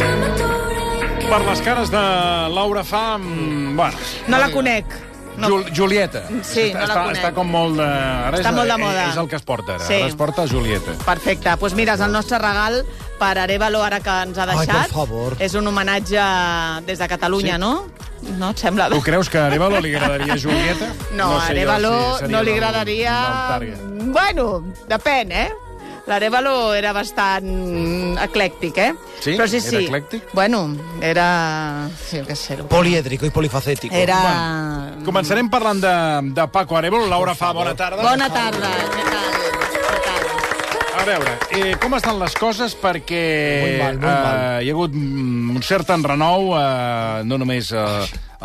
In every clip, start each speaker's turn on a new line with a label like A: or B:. A: Per les cares de Laura fa... mm, Bueno,
B: No la conec.
A: no. Jul Julieta.
B: Sí,
A: està,
B: no la
A: està,
B: conec.
A: està com molt de... Ara
B: Està
A: és,
B: molt de moda.
A: És el que es porta ara.
B: Sí.
A: Ara es porta Julieta.
B: Perfecte. Doncs pues mira, és el nostre regal per Arevalo, ara que ens ha
C: Ai,
B: deixat.
C: per favor.
B: És un homenatge des de Catalunya, sí. no? No et sembla?
A: Tu creus que a Arevalo li agradaria Julieta?
B: No, a
A: sé jo
B: Arevalo
A: seria
B: no li
A: del- del
B: agradaria...
A: target.
B: Bueno, depèn, eh? L'Arevalo era bastant eclèctic, eh?
A: Sí?
B: Però sí,
A: Era
B: sí.
A: eclèctic?
B: Bueno, era... Sí, jo què sé. el-
C: Poliédrico y polifacético.
B: Era...
A: Començarem parlant de, de Paco Arevalo. Laura fa, bona tarda.
B: Bona tarda. Què tal? Què tal?
A: A veure, eh, com estan les coses? Perquè
C: Molt mal, molt mal.
A: eh, hi ha hagut mm, un cert enrenou, eh, no només eh,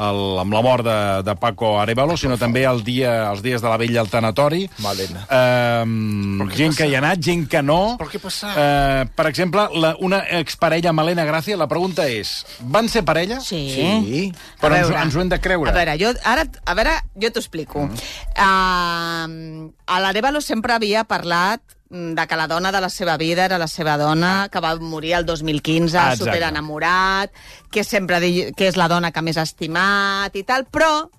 A: el, amb la mort de, de Paco Arevalo, sinó també el dia, els dies de la vella al tanatori.
C: Malena.
A: Eh, gent que hi ha anat, gent que no.
D: Però què passa?
A: Eh, per exemple, la, una exparella, Malena Gràcia, la pregunta és, van ser parella?
B: Sí.
C: Sí.
A: Però
B: A
A: ens,
B: veure.
A: ens ho hem de creure.
B: A veure, jo, ara, a veure, jo t'ho explico. Mm. Uh, a l'Arevalo sempre havia parlat mm, de que la dona de la seva vida era la seva dona, que va morir el 2015,
A: Ah, exacte.
B: super enamorat, que sempre di, que és la dona que més ha estimat i tal, però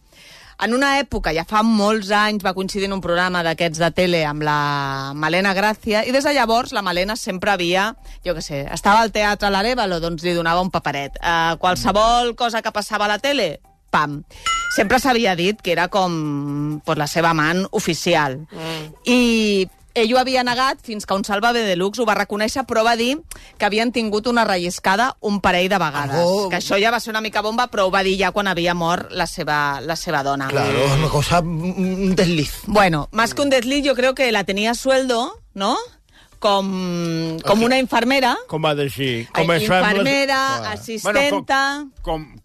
B: en una època, ja fa molts anys, va coincidir en un programa d'aquests de tele amb la Malena Gràcia, i des de llavors la Malena sempre havia, jo què sé, estava al teatre a l'Arevalo, doncs li donava un paperet. Uh, qualsevol cosa que passava a la tele, pam. Sempre s'havia dit que era com pues, la seva amant oficial. Mm. I ell ho havia negat fins que un Salvave de Lux ho va reconèixer, però va dir que havien tingut una relliscada un parell de vegades.
C: Oh.
B: Que això ja va ser una mica bomba, però ho va dir ja quan havia mort la seva, la seva dona.
C: Claro, una cosa, un un desliz.
B: Bueno, más que un desliz, yo creo que la tenía a sueldo, ¿no? Com, com una infermera.
D: Com va dir?
B: Com
D: Com es fa amb les...
B: infermera, assistenta...
A: Bueno, com, com,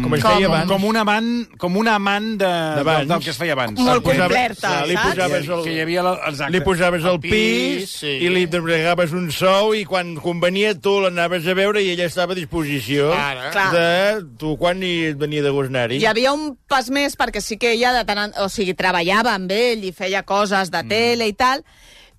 A: com,
D: Com es feia
A: com,
D: abans.
A: com, un amant, com un amant de,
D: D'abans.
A: del, del que es feia abans.
B: Molt
A: Del-
B: complerta,
D: Li
B: saps?
D: posaves
A: que hi
D: el...
A: havia... La, exacte.
D: Li posaves el
A: pis,
D: pis
A: sí.
D: i li entregaves un sou i quan convenia tu l'anaves a veure i ella estava a disposició
A: Ara.
B: Clar.
D: de tu quan hi et venia de gust anar-hi.
B: Hi havia un pas més, perquè sí que ella de tant en, o sigui, treballava amb ell i feia coses
A: Mm.
B: de tele i tal,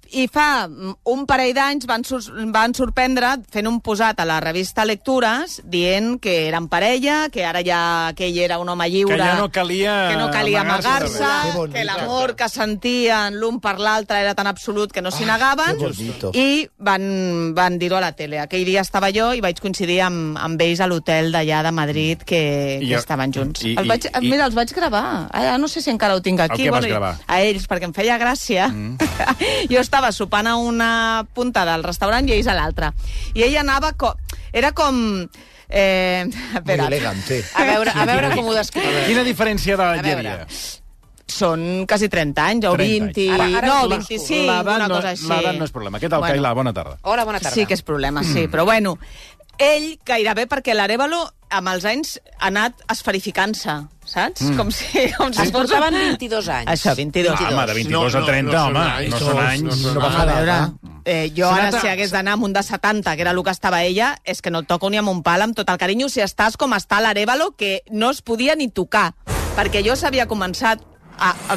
B: i fa mm, un parell d'anys van, sur van sorprendre fent un posat a la revista Lectures dient que eren parella, que ara ja que ell era un home lliure...
A: Que ja no calia
B: que no calia
A: amagar-se
B: amagar-se,
C: Que bonito.
B: que l'amor que sentien l'un per l'altre era tan absolut que no
A: Ah,
B: s'hi negaven,
C: que bonito.
B: i van, van dir-ho a la tele. Aquell dia estava jo i vaig coincidir amb, amb ells a l'hotel d'allà de Madrid
A: I
B: que, que
A: jo-
B: estaven junts.
A: i-
B: I, el vaig,
A: i- i-
B: mira, els vaig gravar. Ara no sé si encara ho tinc aquí.
A: què vas
B: i-
A: gravar?
B: A ells, perquè em feia gràcia. Mm. jo estava sopant a una punta del restaurant i ells a l'altra. I ella anava... Co era com... Eh, espera.
C: elegante.
B: A veure, a veure com ho descriu.
A: Quina diferència de
B: A
A: hi
B: veure.
A: havia?
B: Són quasi 30 anys, o
A: 30
B: 20...
A: anys.
B: Ara,
A: Ara-
B: ara
A: ara
B: no,
A: la-
B: 25,
A: l'edat
B: una
A: no-
B: cosa així.
A: l'edat no és problema. Què tal, Caila? Bona tarda.
E: Hola, bona tarda.
B: Sí que és problema, sí, però bueno. Ell gairebé, perquè l'Arevalo amb els anys ha anat esferificant-se, saps? Mm. Com si... Com si
E: Es portaven 22 anys.
B: Això, 22.
A: Ah, home, de 22
D: No,
A: a
D: no,
A: 30,
D: no són
A: home,
D: anys,
A: no són
D: no,
A: anys.
D: no són
C: No pasa
B: a Ah, veure,
C: nada.
B: eh, jo ara
A: Sonata.
B: si hagués d'anar amb un de 70, que era el que estava ella, és que no el toco ni amb un pal, amb tot el carinyo, si estàs com està l'Arevalo, que no es podia ni tocar, perquè jo s'havia començat a, a,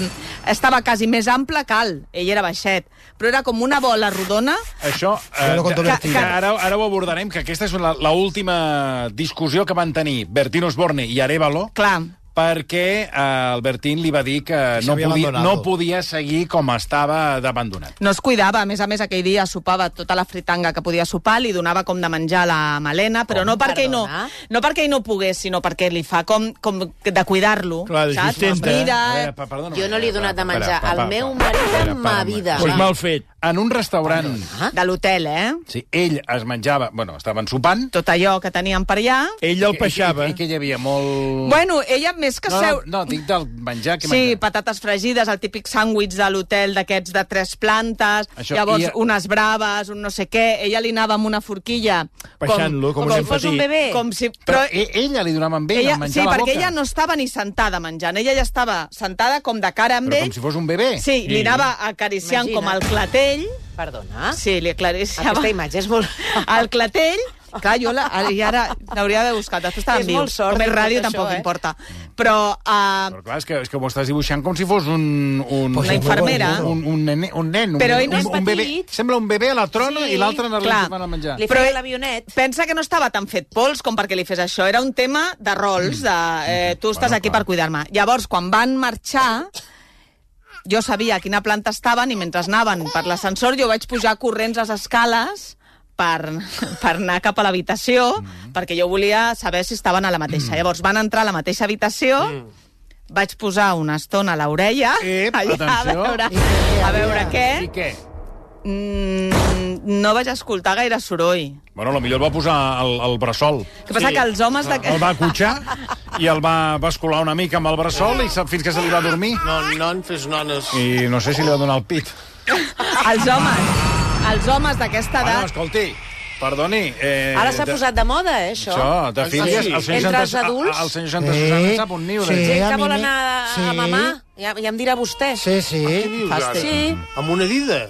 B: estava quasi més ample que alt, ell era baixet, però era com una bola rodona
A: Això, eh,
C: Això no controla
A: que-
C: el
A: que
C: tiro.
A: ara, ara ho abordarem, que aquesta és la- l'última discussió que van tenir Bertino Osborne i Arevalo,
B: Clar.
A: perquè eh, el Bertín li va dir que no
C: s'havia
A: podia,
C: abandonado.
A: no podia seguir com estava d'abandonat.
B: No es cuidava, a més a més aquell dia sopava tota la fritanga que podia sopar, li donava com de menjar a la Malena, però no perquè ell no,
E: Perdona?
B: no perquè ell no pogués, sinó perquè li fa com, com de cuidar-lo,
D: Clar, de
B: saps?
D: sustenta.
A: A
B: Mira,
A: veure, pa- perdona,
E: Ah, Jo no li he donat de
A: espera,
E: menjar
A: pa- pa-
E: al meu
A: pa-
E: marit
A: espera,
E: en
A: pa-
E: ma vida.
D: Doncs mal fet.
A: En un restaurant,
E: Ah?
B: de l'hotel, eh?
A: sí, ell es menjava... Bueno, estaven sopant...
B: tot allò que teníem per allà.
A: Mm.
D: Ell el
A: I,
D: peixava.
A: i, i que hi havia molt...
B: Bueno, ella més que
A: no,
B: seu...
A: no, no, dic del menjar que
B: Sí,
A: menjar.
B: patates fregides, el típic sàndwich de l'hotel d'aquests de tres plantes,
A: Això,
B: Això, llavors
A: i-
B: unes braves, un no sé què, ella li anava amb una forquilla...
D: Peixant-lo, com un nen
B: fos
D: petit.
B: Com si...
A: Però,
B: Però,
A: e- ella li donava amb ell
B: ella,
A: el menjar
B: sí,
A: a la
B: perquè
A: boca.
B: ella no estava ni sentada menjant, ella ja estava sentada com de cara amb
A: Però
B: ell,
A: com si fos un bebè.
B: Sí, li anava acariciant
E: Imagina't.
B: com el clatell Clatell...
E: Perdona.
B: Sí, Ah, li aclareixava.
E: Aquesta imatge és molt...
B: El Clatell... Clar, jo la, ara- i ara l'hauria de buscar, després estava
E: És
B: en viu.
E: molt sort,
B: Com és
E: tot
B: ràdio,
E: això,
B: tampoc
E: eh?
B: importa. Però... Uh,
A: Però clar, és que, és que ho estàs dibuixant com si fos un... un
B: Pues Una és molt infermera.
A: Un,
C: Ah.
B: bonito.
A: un, un, nen, un nen, un,
B: Però ell
A: un,
B: no és
A: un, un bebè.
E: petit.
A: Sembla un bebè a la trona
E: Sí,
A: i l'altre anar-li
B: clar.
A: a menjar.
E: Li
B: Però-
E: feia l'avionet.
B: Pensa que no estava tan fet pols com perquè li fes això. Era un tema de rols, de eh, tu
A: Mm.
B: estàs
A: Bueno,
B: aquí
A: clar.
B: per cuidar-me. Llavors, quan van marxar, jo sabia a quina planta estaven i mentre anaven per l'ascensor jo vaig pujar corrents les escales per, per anar cap a l'habitació
A: Mm.
B: perquè jo volia saber si estaven a la mateixa. Llavors van entrar a la mateixa habitació, vaig posar una estona a l'orella,
A: Mm. Ep,
B: a
A: atenció. Eh,
B: veure, a veure què.
A: I què?
B: Mm, no vaig escoltar gaire soroll.
A: Bueno, la millor el va posar al, al bressol.
B: El que passa sí. que els homes... De...
A: El va acotxar i el va bascular una mica amb el bressol i se- fins que se li va dormir.
F: Non, non, fes nones.
A: I no sé si li va donar el pit.
B: Els homes, els homes d'aquesta
A: Bueno,
B: edat...
A: escolti, perdoni... Eh,
E: Ara s'ha
A: de-
E: posat de moda, eh, això.
A: Això, de filles...
F: sí?
A: el senyor
E: Entre els
A: Santa-
E: adults?
A: El senyor Santa Susana en sap un niu. de-
C: Sí.
E: Gent
C: a
E: que
C: mi
E: vol
C: me-
E: anar
C: sí.
E: a mamar, ja, ja em dirà vostè.
C: Sí, sí.
F: Dius,
B: Fàstic.
F: ara?
E: Sí.
F: Amb una dida.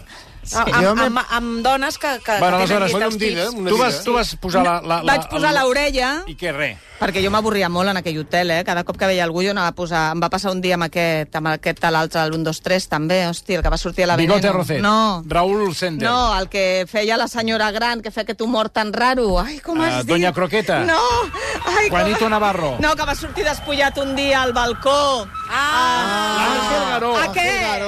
E: A-
C: Jo
E: Amb,
C: me-
E: amb, amb dones que, que,
A: Bueno,
E: que
A: aleshores,
E: tenen
F: Bueno,
E: els
F: em dida,
E: dits.
F: una
A: Tu
F: dida.
A: vas, tu vas posar la... la, la
B: Vaig posar
A: el-
B: l'orella,
A: I què, res?
B: perquè jo m'avorria molt en aquell hotel, eh? Cada cop que veia algú jo anava a posar... Em va passar un dia amb aquest, amb aquest a l'altre, el 1, 2, 3, també, hòstia, el que va sortir a la
A: Bigote
B: Veneno.
A: Rocet.
B: No,
A: Raúl Sender.
B: no, el que feia la senyora gran, que feia aquest humor tan raro. Ai, com
A: Ah,
B: es diu?
A: Doña Croqueta.
B: No! Ai,
A: Juanito Navarro.
B: No, que va sortir despullat un dia al balcó.
E: Ah,
A: Ángel Garó.
B: aquest!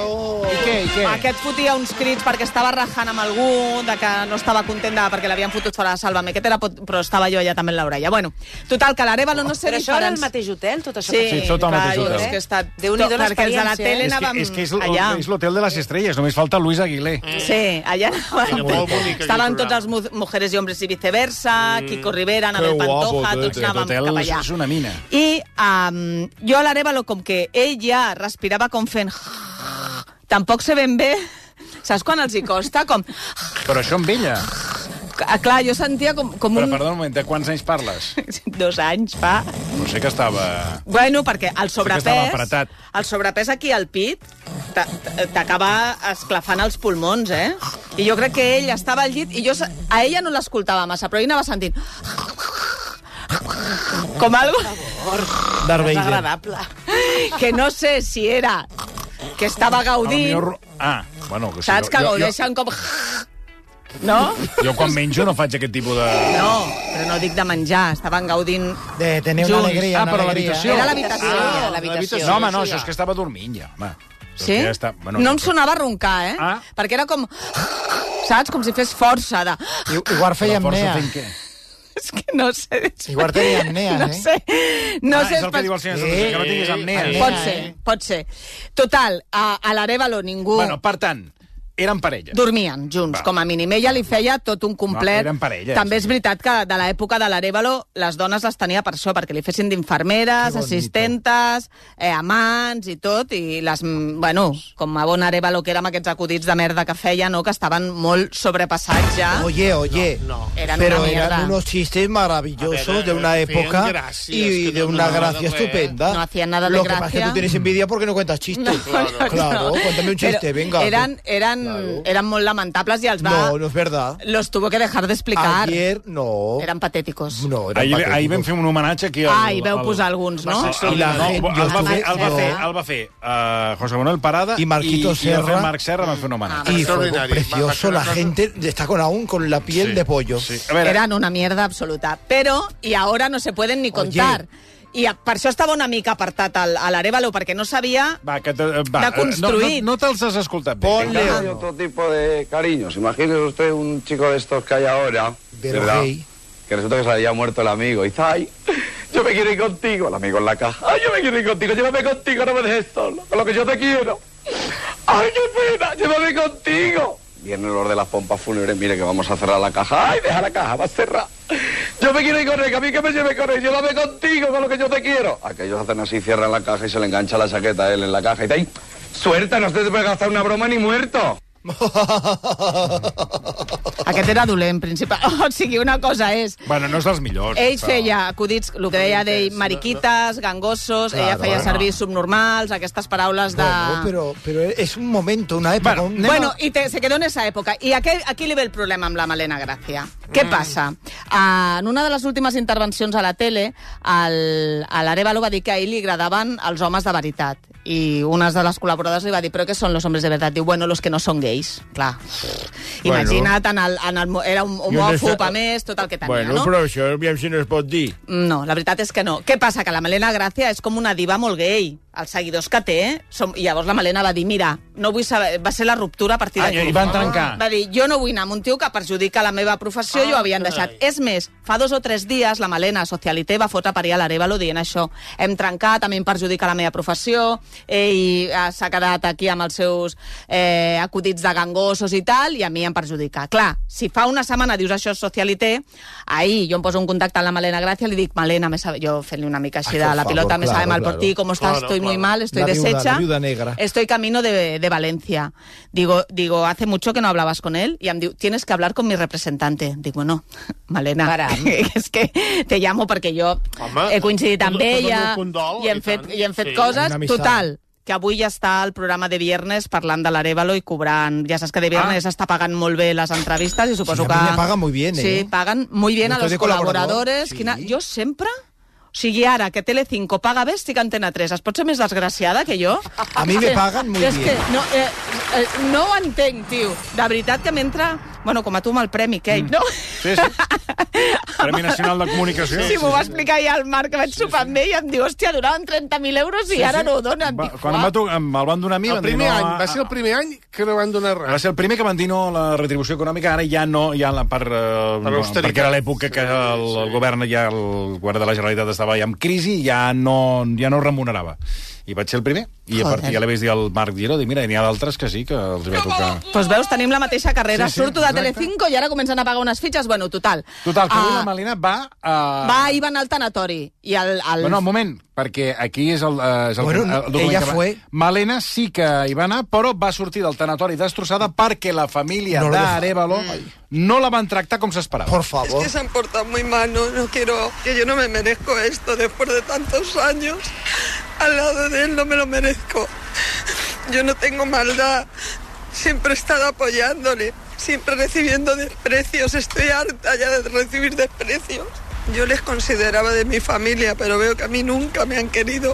A: I què, i què?
B: Aquest fotia uns crits perquè estava rajant amb algú, de que no estava content de, perquè l'havien fotut fora de Sálvame. Aquest era, pot- però estava jo allà també en l'orella. Bueno, total, que l'Arevalo no sé
E: Oh, però això era el
B: diferents-
E: mateix hotel, tot això?
B: Sí,
E: que-
A: Sí, tot el
B: clar,
A: mateix
B: jo
A: hotel.
B: És que he estat...
E: Déu-n'hi-do
B: tot- perquè els de la
E: l'experiència,
B: tele
E: eh?
A: És que,
B: anàvem
A: és que és l-
B: allà. Mm.
A: és l'hotel de les estrelles, només falta Luis Aguilé.
B: Sí, allà
F: Era molt bonic
B: estaven
F: aquell
B: tots els
F: programa.
B: mu- Mujeres i Hombres i Viceversa, mm. Kiko Rivera, Anabel
D: Que guapo,
B: Pantoja,
D: tot,
B: tots
D: eh?
A: Aquest
B: anàvem cap
A: hotel
B: allà.
A: és una mina.
B: I um, jo a l'Arevalo, com que ell ja respirava com fent... Tampoc se ben bé... Saps quan els hi costa? Com...
A: Però això amb ella.
B: Ah, Clar, jo sentia com, com
A: Però,
B: un...
A: perdó un moment, de quants anys parles?
B: Dos anys, fa.
A: No sé que estava...
B: Bueno, perquè
A: estava
B: el sobrepès...
A: apretat.
B: el sobrepès aquí al pit t'a- t'a- t'acaba esclafant els pulmons, eh? I jo crec que ell estava al llit i jo se- a ella no l'escoltava massa, però ell anava sentint... Com algo
C: Darth
E: És
C: Vader.
E: agradable.
B: que no sé si era que estava
A: A lo
B: gaudint,
A: millor- Ah, bueno... que si
B: saps
A: jo-
B: que
A: jo-
B: gaudeixen com... No?
A: Jo, jo quan menjo no faig aquest tipus de...
B: No, però no dic de menjar, estaven gaudint...
C: De tener una
B: Junts.
C: alegría.
A: Ah,
C: una
A: però
C: alegría.
A: l'habitació.
B: Era l'habitació.
E: Ah,
F: l'habitació.
A: No, home, no, això és que estava dormint ja, home. Però
B: Sí?
A: que Ja està... doncs,
B: Bueno, no em sonava roncar, eh?
A: Ah.
B: Perquè era com... Saps? Com si fes força de...
C: I- Igual feia
A: Feia força
C: apnea.
A: fent què?
B: És que no sé...
C: Igual tenia apnea,
B: no
C: eh?
B: Sé, no
A: ah,
B: sé...
A: és el que diu el senyor Santos,
C: Eh,
A: que no tinguis apnea.
C: apnea.
B: Pot ser,
C: eh?
B: pot ser. Total, a, a l'Arevalo ningú...
A: Bueno, per tant, eren parella.
B: Dormien junts,
A: Va.
B: com a mínim. Ella li feia tot un complet.
A: Va, eren parelles.
B: També és veritat que de l'època de l'Arevalo les dones les tenia per això, perquè li fessin d'infermeres, assistentes, eh, amants i tot, i les, mm, bueno, com a bon Arevalo que era amb aquests acudits de merda que feia, no?, que estaven molt sobrepassats ja.
C: Oye, oye.
F: No, no.
B: Eran
C: Pero
B: una
C: eran
B: mierda.
C: unos chistes maravillosos
F: A ver,
C: de una
F: eh,
C: época
F: hacían gracias,
C: y
F: que
C: de
F: no,
C: una
F: no,
C: gracia
F: no, no,
C: estupenda.
B: No hacían nada de
C: Lo que pasa es que
B: gracia.
C: tú tienes envidia porque no cuentas chistes.
B: No,
C: Claro, cuéntame un chiste,
B: Pero
C: venga.
B: Eran, eran, eran molt lamentables i els va...
C: No, no es verdad.
B: Los tuvo que dejar de explicar.
C: Ayer no.
B: Eren patèticos.
C: No, eran
A: Ahir, ahir
C: patéticos.
A: vam fer un homenatge aquí al...
B: Ah, hi veu
A: al-
B: posar alguns, no?
F: Va ser
A: El,
F: extraordinari.
A: no, el,
C: jo
A: va fer, el va
E: estuve-
A: fer, el va fer uh, José Manuel Parada
C: I Marquito
A: i, i va fer
C: Serra.
A: Marc Serra va fer un homenatge.
C: Y fue
F: Extraordinario.
C: precioso. La gente está con aún con la piel de pollo.
A: Sí.
B: Ah.
A: A veure,
B: Eran una mierda absoluta. Pero, y ahora no se pueden ni contar. I a- per això estava una mica apartat al- a l'Arevalo, perquè no sabia...
A: va, que te, va, eh,
B: de construït.
A: No, no, no te'ls has escoltat bé.
C: Ponle
A: Vinga.
G: Hay otro tipo de cariños. Imagínese usted un chico de estos que hay ahora,
C: Pero
G: ¿verdad?
C: gay.
G: Que resulta que se le había muerto el amigo. Y dice, ay, yo me quiero ir contigo. El amigo en la caja. Ay, yo me quiero ir contigo. Llévame contigo, no me dejes solo. Con lo que yo te quiero. Ay, qué pena, llévame contigo. Viene el olor de las pompas fúnebres. Mire que vamos a cerrar la caja. Ay, deja la caja, va a cerrar. Yo me quiero ir con él, que a mí que me lleve con él. Llévame contigo, con lo que yo te quiero. Aquellos hacen así, cierran la caja y se le engancha la chaqueta a él en la caja. Y dice, ay, suelta, no te puede gastar una broma ni muerto.
B: Aquest era dolent, principal. O sigui, una cosa és...
A: Bueno, no és dels millors.
B: Ell
A: però-
B: feia acudits, el que deia d'ell, mariquites, gangosos,
C: Claro,
B: ella feia
C: bueno.
B: servir subnormals, aquestes paraules de...
C: Bueno, pero, pero es un momento, una época.
A: Bueno,
C: un nena-
B: Bueno, i te, se quedó en esa època. I aquí, aquí li ve el problema amb la Malena Gràcia.
D: Mm.
B: Què passa? Ah, en una de les últimes intervencions a la tele, el- a l'Arevalo va dir que a ell li agradaven els homes de veritat. I una de les col·laboradores li va dir, però què són els homes de veritat? Diu, bueno, los que no són gais. Clar.
D: Bueno.
B: Imagina't, en el, en el, mo- era un
D: I on
B: homòfob,
D: està-
B: a més, tot el que tenia,
D: Bueno,
B: no?
D: però això, aviam si no es pot dir.
B: No, la veritat és que no. Què passa? Que la Malena Gràcia és com una diva molt gay. Els seguidors que té, som... i llavors la Malena va dir, mira, no vull saber... Va ser la ruptura a partir
A: Ah,
B: d'aquí.
A: i van trencar.
B: Va dir, jo no vull anar amb un tio que perjudica la meva professió
C: Ah,
B: i ho havien deixat. És més, fa dos o tres dies la Malena Socialité va fotre parir a l'Arevalo dient això. Hem trencat, a mi em perjudica la meva professió, ell eh, s'ha quedat aquí amb els seus eh, acudits de gangosos i tal, i a mi em perjudica. Clar, si fa una setmana dius això és Socialité, ahir jo em poso en contacte amb la Malena Gràcia i li dic, Malena, me sabe... jo fent-li una mica així
C: Ai,
B: de
C: por
B: la
C: Ah, favor,
B: pilota, me
C: claro,
B: sabe mal
C: claro.
B: por ti, com estás,
F: Claro,
B: estoy muy
F: claro.
B: mal, estoy
C: La viuda,
B: deshecha.
C: la viuda negra.
B: Estoy camino de, de Valencia. Digo, digo, hace mucho que no hablabas con él y em diu, tienes que hablar con mi representante. Digo, no, Malena,
E: Caram.
B: és que te llamo perquè jo
F: Home,
B: he coincidit
F: tot-
B: amb
F: tot el
B: ella
F: meu condol,
B: i hem
F: i
B: fet,
F: tant.
B: i hem fet
F: Sí.
B: coses.
C: Una amistat.
B: Total, que avui ja està el programa de viernes parlant de l'Arevalo i cobrant... Ja saps que de viernes està pagant molt bé les entrevistes i suposo
C: Ah. Sí, a
B: que...
C: mí me pagan muy bien,
B: Sí,
C: eh.
B: pagan muy bien
C: Yo
B: a
C: estoy
B: los
C: de colaborador,
B: colaboradores.
C: sí.
B: Quina... Jo sempre... O sigui, ara que Telecinco paga bé, estic a Antena 3. Es pot ser més desgraciada que jo?
C: A mi me paguen muy
B: és
C: bien.
B: Que no, eh, eh, no ho entenc, tio. De veritat que m'entra... Bueno, com a tu amb el premi, Kate, mm. no?
A: Sí, sí. Premi Nacional de Comunicació.
B: Sí, m'ho va explicar ja el Marc, que vaig sopar amb ell, i em diu, hòstia, donaven 30.000 euros i ara no ho donen.
A: Va,
B: Dic,
A: quan em, va
B: "Uah".
A: trucar, me'l van donar a mi...
F: El
A: van dir,
F: primer
A: no,
F: any,
A: a-
F: va ser el primer any que no van donar
A: Va
F: res.
A: ser el primer que van dir no a la retribució econòmica, ara ja no, ja la, per, eh,
F: Per
A: no,
F: austeritat.
A: perquè era l'època que el, el govern, ja el govern de la Generalitat estava ja en crisi, ja no, ja no remunerava. I vaig ser el primer, i a
B: Joder.
A: partir ja li vaig dir al Marc Giró, dic, mira, n'hi ha d'altres que sí, que els va tocar.
B: Doncs veus, tenim la mateixa carrera.
A: Sí, sí,
B: Surto de
A: exacte.
B: Telecinco i ara comencen a pagar unes fitxes. Bueno, total.
A: Total, que avui
B: Ah,
A: la Malina va... Uh,
B: Va, i van al tanatori. I el, el...
A: Bueno, un moment, perquè aquí és el, eh, és el,
C: Bueno,
A: el document
C: ella
A: que va-
C: fue.
A: Malena sí que hi va anar, però va sortir del tanatori destrossada perquè la família
C: No
A: no
C: la deja-
A: d'Arevalo no la van tractar com s'esperava.
C: Por favor.
H: que se han portado muy mal, no, no quiero, que yo no me merezco esto después de tantos años. Al lado de él no me lo merezco. Yo no tengo maldad. Siempre he estado apoyándole, siempre recibiendo desprecios. Estoy harta ya de recibir desprecios. Yo les consideraba de mi familia, pero veo que a mí nunca me han querido.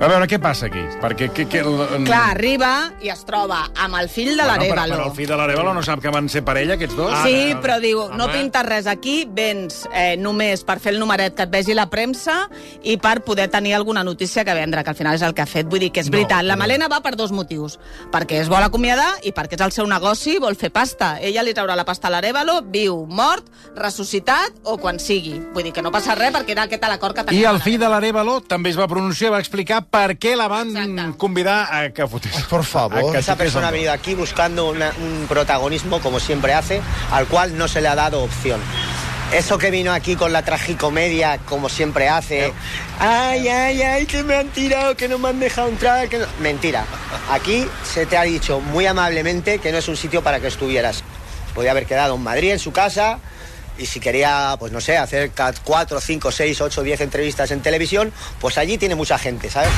A: A veure, què passa aquí? Perquè... Que, que, el,
B: Clar, arriba i es troba amb el fill de
A: però,
B: l'Arevalo.
A: però el fill de l'Arevalo no sap que van ser parella, aquests dos?
B: Sí, però diu,
F: Home.
B: no pintes res aquí, vens eh, només per fer el numeret que et vegi la premsa i per poder tenir alguna notícia que vendre, que al final és el que ha fet. Vull dir que és veritat, la Malena va per dos motius. Perquè es vol acomiadar i perquè és el seu negoci, vol fer pasta. Ella li traurà la pasta a l'Arevalo, viu, mort, ressuscitat o quan sigui. Vull dir que no passa res perquè era aquest l'acord que
A: I
B: tenia.
A: el fill de l'Arevalo també es va pronunciar, va explicar per què la van
B: Exacte.
A: convidar a que fotés.
C: Por favor.
A: A que
I: Esa
A: toqués
I: persona ha
A: el-
I: venido aquí buscando una- un protagonismo, como siempre hace, al cual no se le ha dado opción. Eso que vino aquí con la tragicomedia, como siempre
A: Eh.
I: hace. Ay, ay, ay, que me han tirado, que no me han dejado entrar. que no-". Mentira. Aquí se te ha dicho muy amablemente que no es un sitio para que estuvieras. Podía haber quedado en Madrid, en su casa, y si quería, pues no sé, hacer 4, 5, 6, 8, 10 entrevistas en televisión, pues allí tiene mucha gente, ¿sabes?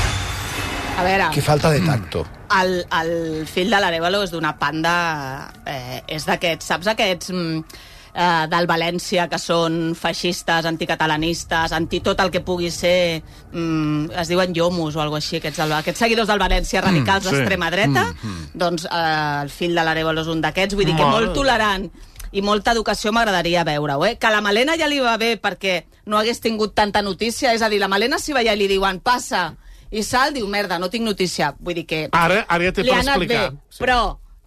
B: A veure...
C: Qué falta de tacto.
B: el, el fill de l'Arevalo és d'una panda... Eh, és d'aquests, saps aquests... Mm, eh, del València, que són feixistes, anticatalanistes, anti tot el que pugui ser... Mm, es diuen llomos o alguna així, aquests, del, aquests seguidors del València radicals
A: sí.
B: d'extrema dreta. Doncs eh, el fill de l'Arevalo és un d'aquests. Vull dir que molt tolerant i molta educació m'agradaria veure-ho, eh? Que la Malena ja li va bé perquè no hagués tingut tanta notícia. És a dir, la Malena s'hi va allà i li diuen passa i sal, diu merda, no tinc notícia. Vull dir que
F: Ara, ara ja té
B: li
F: per
B: ha anat
F: explicar.
B: bé, sí. però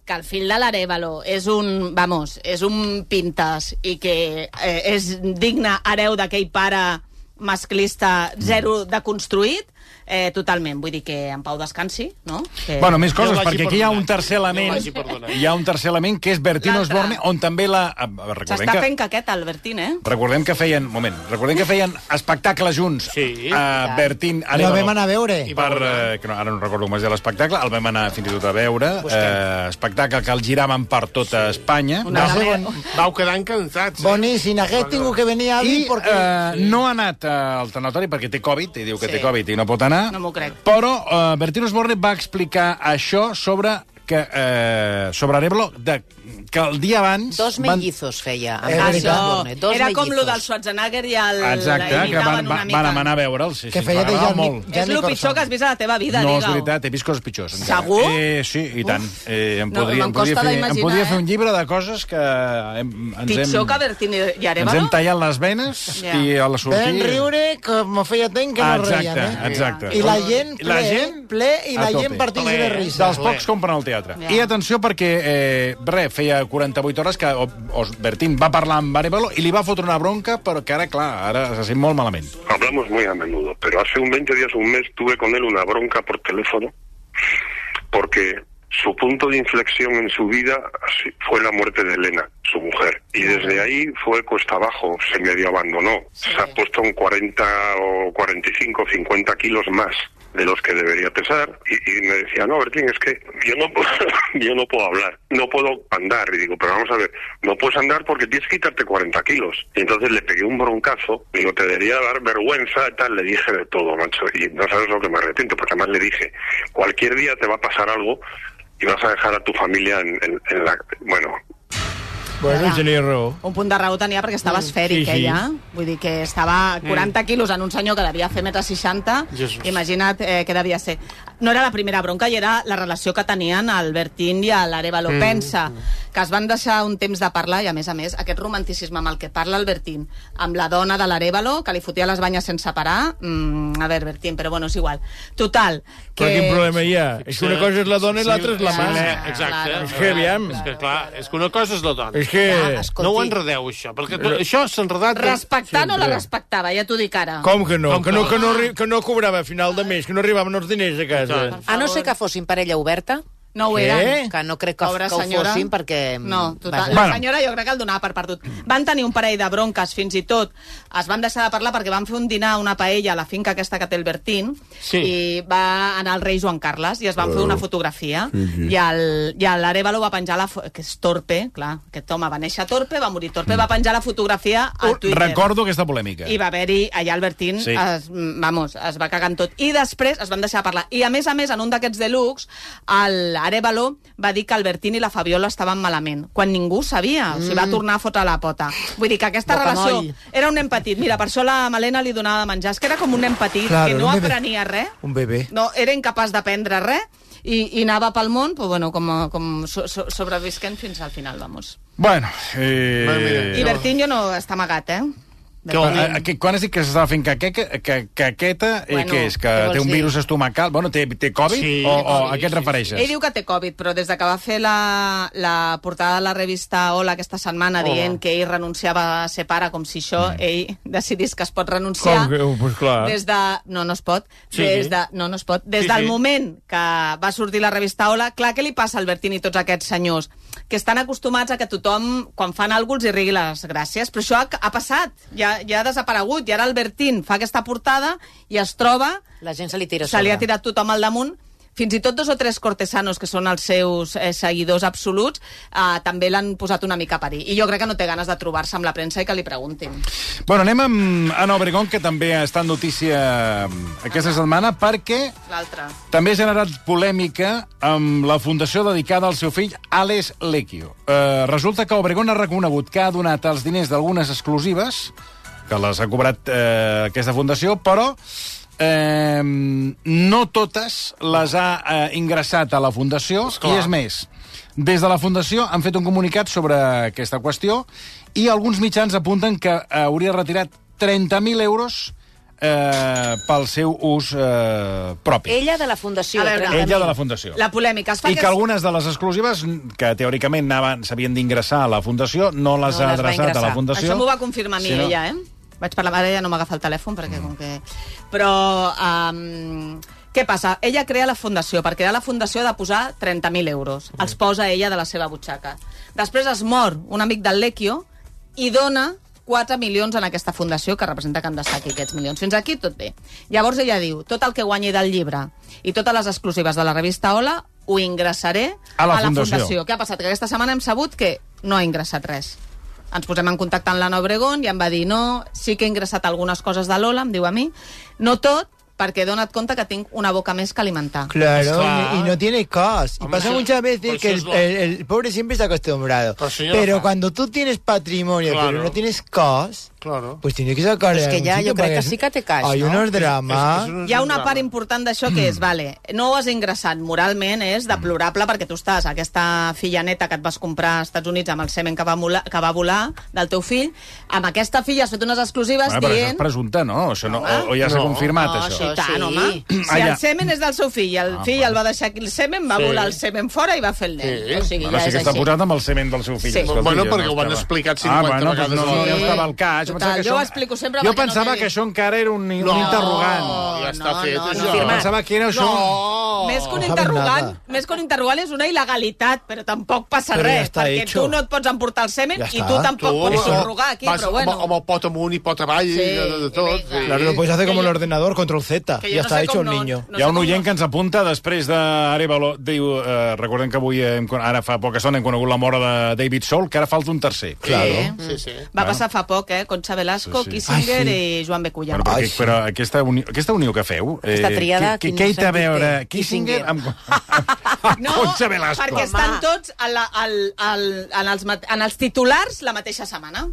B: que el fill de l'Arevalo és un, vamos, és un pintes i que eh,
A: Mm.
B: és digne hereu d'aquell pare masclista zero de construït, Eh, totalment, vull dir que en Pau descansi, no? Que...
A: Bueno, més coses,
D: Jo vagi
A: perquè
D: per
A: aquí hi ha
D: donar.
A: un tercer element...
F: vagi per donar.
A: Hi ha un tercer element, que és Bertino
B: L'altre.
A: Osborne, on també la... ah, Recordem
B: S'està
A: que,
B: fent caqueta, Albertín, eh?
A: recordem que feien... un Moment, recordem que feien espectacle junts.
D: Sí.
A: A Bertín...
C: La
A: Arevalo.
C: vam anar a veure.
A: I per, eh, que no, ara no recordo com es deia l'espectacle, el vam anar fins i tot a veure, eh, espectacle que el giraven per tota sí. Espanya.
B: Una
C: sé
B: gamera-
F: Vau quedar eh? encantats.
C: Boni, sin hagués tingut que venir a
A: I
C: dir
A: eh,
C: porque...
A: no ha anat eh, al tanatori perquè té Covid, i diu que
B: Sí.
A: té Covid i no pot anar.
B: No m'ho crec.
A: Però eh, Bertino Osborne va explicar això sobre que, eh, sobre Arevalo, de, que el dia abans...
E: Dos
A: van-
E: mellizos feia.
C: Eh,
E: Pau
C: veritat.
E: Osborne,
B: Això, era com
E: mellizos.
B: lo del Schwarzenegger i el...
A: Exacte, que van,
B: imitaven
A: va,
B: una mica.
A: van anar a veure'l. Sí,
C: Que
A: sí,
C: feia de
A: m'agradava
C: Jan Nic-
A: molt.
C: Ja
B: És
C: ni
B: el
C: Corson.
B: pitjor que has vist a la teva vida,
A: No, és
B: digue-ho.
A: veritat, he vist coses pitjors. Encara.
B: Segur?
A: Eh, sí, i tant. Eh, em
B: No,
A: podria,
B: me'n
A: em podria,
B: costa
A: fer, em
B: d'imaginar,
A: podria fer
B: eh?
A: un llibre de coses que hem, ens
B: Pitjor
A: hem...
B: que Bertín i
A: Ens hem
B: Arevalo?
A: tallat les venes
B: Ja.
A: i a la sortida...
C: Ven riure com feia temps que no
A: exacte,
C: reien, eh?
A: exacte.
C: I la gent ple,
A: la gent
C: ple i
A: a
C: la gent
A: tope.
C: partint de risa.
A: dels pocs compren al teatre.
B: Ja.
A: I atenció perquè, eh, res, feia 48 hores que o- Os Bertín va parlar amb Arevalo i li va fotre una bronca, però que ara, clar, ara se sent molt malament.
J: Hablamos muy a menudo, pero hace un 20 días, un mes, tuve con él una bronca por teléfono porque su punto de inflexión en su vida así, fue la muerte de Elena, su mujer. Y desde ahí fue cuesta abajo, se medio abandonó. Se ha puesto un 40 o 45, 50 kilos más de los que debería pesar. Y, y me decía, no, Bertín, es que yo no, puedo- yo no puedo hablar, no puedo andar. Y digo, pero vamos a ver, no puedes andar porque tienes que quitarte 40 kilos. Y entonces le pegué un broncazo, digo, te debería dar vergüenza y tal. Le dije de todo, macho. Y no sabes lo que me arrepiento, porque además le dije, cualquier día te va a pasar algo y vas a dejar a tu familia en, en- en la... Bueno,
D: Bueno, tenia raó.
B: Un punt de raó tenia perquè estava esfèric,
D: sí, sí.
B: ella. Vull dir que estava 40 quilos en un senyor que devia fer metre 60.
F: Jesús.
B: Imagina't eh, què devia ser. No era la primera bronca i era la relació que tenien el Bertín i l'Arevalo. Mm. Pensa que es van deixar un temps de parlar i, a més a més, aquest romanticisme amb el que parla el Bertín, amb la dona de l'Arevalo, que li fotia les banyes sense parar... Mm, a veure, Bertín, però bueno, és igual. Total, que...
D: Però quin problema hi ha? És que una cosa és la dona i
F: Sí,
D: l'altra és la
F: sí,
D: mà.
F: eh, Exacte.
B: Claro,
F: És
D: que aviam.
F: És que, clar, és que una cosa és la dona.
D: És que...
E: Ah, escolta.
F: No ho enredeu, això, perquè tot, això s'ha enredat...
B: Respectar no la
D: Sempre.
B: respectava, ja t'ho dic ara.
D: Com que no?
F: Com
D: Que no,
F: que
D: que no, arri- que no cobrava a final de mes, que no arribaven els diners a casa.
F: Exacte.
E: A no ser que fossin parella oberta,
B: No ho
D: Què?
B: eren.
E: que no crec que,
B: Pobra
E: que ho
B: senyora.
E: fossin perquè... mm,
B: No, total.
E: Vaja.
B: La senyora jo crec que el donava per perdut. Van tenir un parell de bronques, fins i tot. Es van deixar de parlar perquè van fer un dinar, una paella, a la finca aquesta que té el Bertín,
F: Sí.
B: i va anar el rei Joan Carles, i es van fer una fotografia, i el- i el l'Arevalo va penjar la... fo- que és torpe, clar, aquest home va néixer torpe, va morir torpe, va penjar la fotografia
A: Oh,
B: al Twitter.
A: Recordo aquesta polèmica.
B: I va haver-hi allà el Bertín,
A: Sí.
B: sí. es, mm, vamos, es va cagar en tot. I després es van deixar de parlar. I a més a més, en un d'aquests deluxe, l'Arevalo va dir que el Bertín i la Fabiola estaven malament, quan ningú sabia. Mm. O sigui, va tornar a fotre la pota. Vull dir que aquesta relació
E: Bocamoll.
B: era un nen petit. Mira, per això la Malena li donava de menjar. És que era com un nen petit,
C: Claro,
B: que no
C: un bebè.
B: aprenia res.
C: Un bebè.
B: No, era incapaç d'aprendre res. I, i anava pel món, però bueno, com, com so, so, sobrevisquent fins al final, vamos.
A: Bueno,
B: I
A: eh...
B: Bertín jo no està amagat, eh?
A: Que, a, eh, que, quan has dit que s'estava fent caqueta, que, caqueta bueno, eh,
B: Bueno,
A: què és? Que
E: què vols
A: té un
E: dir?
A: virus estomacal? Bueno, té, té Covid?
F: Sí,
A: o, o
F: sí,
A: a què et
F: sí,
A: refereixes?
B: Ell diu que té Covid, però des de que va fer la, la portada de la revista Hola aquesta setmana Hola. dient que ell renunciava a ser pare, com si això mm. ell decidís que es pot renunciar...
D: Com que... oh, Pues clar.
B: Des de... No, no es pot.
F: Sí,
B: des
F: sí.
B: de... No, no es pot. Des
F: Sí,
B: sí, del
F: sí.
B: moment que va sortir la revista Hola, clar, què li passa al Bertín i tots aquests senyors? Que estan acostumats a que tothom, quan fan alguna cosa, els hi rigui les gràcies. Però això ha, ha passat, ja, ja ha desaparegut. I ara el Bertín fa aquesta portada i es troba
E: La gent se li tira a
B: se
E: sobre.
B: li ha tirat tothom al damunt. Fins i tot dos o tres cortesanos, que són els seus eh, seguidors absoluts, eh, també l'han posat una mica a parir. I jo crec que no té ganes de trobar-se amb la premsa i que li preguntin.
A: Bueno, anem amb Anna Obregón, que també està en notícia aquesta setmana, perquè
B: L'altre.
A: també ha generat polèmica amb la fundació dedicada al seu fill, Alex Lecchio. Eh, resulta que Obregón ha reconegut que ha donat els diners d'algunes exclusives, que les ha cobrat eh, aquesta fundació, però eh, no totes les ha eh, ingressat a la fundació, i és més, des de la Fundació han fet un comunicat sobre aquesta qüestió i alguns mitjans apunten que hauria retirat 30.000 euros eh, pel seu ús eh, propi.
E: Ella de la Fundació.
B: A veure,
E: trenta
A: Ella
E: mil.
A: de la Fundació.
B: La polèmica. Es fa
A: I que algunes de les exclusives que teòricament anaven- s'havien d'ingressar a la Fundació no les
E: No
A: ha
E: les va
A: adreçat a la
E: ingressar.
A: Fundació.
B: Això m'ho va confirmar a mi,
A: Sí, no?
B: ella, eh? Vaig parlar, ara ja no m'agafa el telèfon, perquè com que... Però... Um, què passa? Ella crea la fundació. Per crear la fundació ha de posar 30.000 euros. Els posa ella de la seva butxaca. Després es mor un amic del Lequio i dona 4 milions en aquesta fundació, que representa que han d'estar aquí aquests milions. Fins aquí tot bé. Llavors ella diu, tot el que guanyi del llibre i totes les exclusives de la revista Hola ho ingressaré
A: A la
B: a la
A: fundació.
B: fundació. Què ha passat? Que aquesta setmana hem sabut que no ha ingressat res. Ens posem en contacte amb l'Anna Obregón i em va dir no, sí que he ingressat algunes coses de l'Ola, em diu a mi, no tot, perquè dona't compte que tinc una boca més que alimentar.
C: Claro,
F: Claro.
C: y y no tiene cos. Y
F: Hombre,
C: pasa
F: sí.
C: muchas
F: Pues
C: veces que
F: sí es
C: el,
F: verdad.
C: el- el pobre siempre está acostumbrado.
B: Pues
F: Pero señora
C: Pero
F: Paz.
C: cuando tú tienes patrimonio,
F: Claro.
C: pero no tienes cos,
F: Claro.
C: pues tienes que sacarle
E: Es que
C: de algún
E: ya,
C: sitio
E: yo creo
C: para
E: que sí que te cash,
C: Hay
E: ¿no?
C: unos dramas.
B: Hi ha una part important d'això que és, vale, no ho has ingressat moralment, és deplorable perquè tu estàs, aquesta filla neta que et vas comprar als Estats Units amb el semen que va, mola, que va volar del teu fill, amb aquesta filla has fet unes exclusives
A: Bueno, però això
B: dient...
A: és presumpte, no? Això no, o, o ja s'ha
F: No.
A: confirmat,
E: No,
A: això.
E: això
B: I tant,
E: Sí.
B: home.
A: Ah,
B: Si
A: ja.
B: el semen és del seu fill, i el
A: Ah,
B: fill el va deixar aquí el semen, va
F: Sí.
B: volar el semen fora i va fer el nen.
F: Sí.
B: O sigui,
A: Ara
B: ja
A: sí que
B: és
A: està
B: així.
A: posat amb el cement del seu fill.
B: Sí.
A: escolti,
F: Bueno,
A: jo
F: perquè ho han
A: estava-
F: explicat 50
A: ah, bueno,
F: vegades
A: Doncs no,
B: al
A: no
B: dia.
A: estava al cas.
B: Total,
A: pensava que
B: jo
A: això-
B: ho explico sempre
A: Jo
B: perquè no
A: pensava
B: quedi.
A: que això encara era un, un
F: No.
A: interrogant.
F: Ja està
B: no,
F: fet,
B: no,
F: això.
B: no.
A: Jo
E: Firmat.
A: pensava que era això...
F: No!
B: Més que un
C: No saben
B: interrogant,
C: nada.
B: més que un interrogant és una il·legalitat, però tampoc passa
C: Però ja
B: res,
C: està
B: perquè
C: hecho.
B: tu no et pots emportar el semen
C: Ja
B: i
C: està.
B: tu tampoc pots
F: eh,
B: subrogar aquí,
F: vas
B: però bueno.
F: Amb, amb el pot amunt i pot avall sí,
B: Sí,
F: i de, de, de
B: i
F: tot.
B: vinga.
F: Sí.
C: Claro, lo puedes hacer como el
B: Que yo-
C: ordenador, control Z.
B: Que
C: Y
B: yo
C: ya
B: no
C: está
B: sé
C: hecho
B: cómo
C: el
B: no-
C: niño.
B: no
A: Hi ha
B: sé
A: un
B: com
A: oient
B: no-
A: que ens apunta després d'Arevalo. Diu, eh, recordem que avui, hem, con- ara fa poca estona, hem conegut la mort de David Soul, que ara falta un tercer.
C: Claro.
F: Sí, sí.
B: Va passar fa poc, eh? Concha Velasco,
A: Sí, sí.
B: Kissinger
C: Ai,
B: i Joan Becullà.
A: Bueno, però, que, però aquesta, uni, aquesta unió que feu... Eh,
E: Aquesta tríada,
A: Què
E: quin
A: què hi té a
E: sentit
A: veure
E: té?
A: Kissinger
E: Kissinger.
A: amb, amb
B: No,
A: Concha Velasco?
B: perquè estan tots a la, al, al, en, els, mat- en els titulars la mateixa setmana.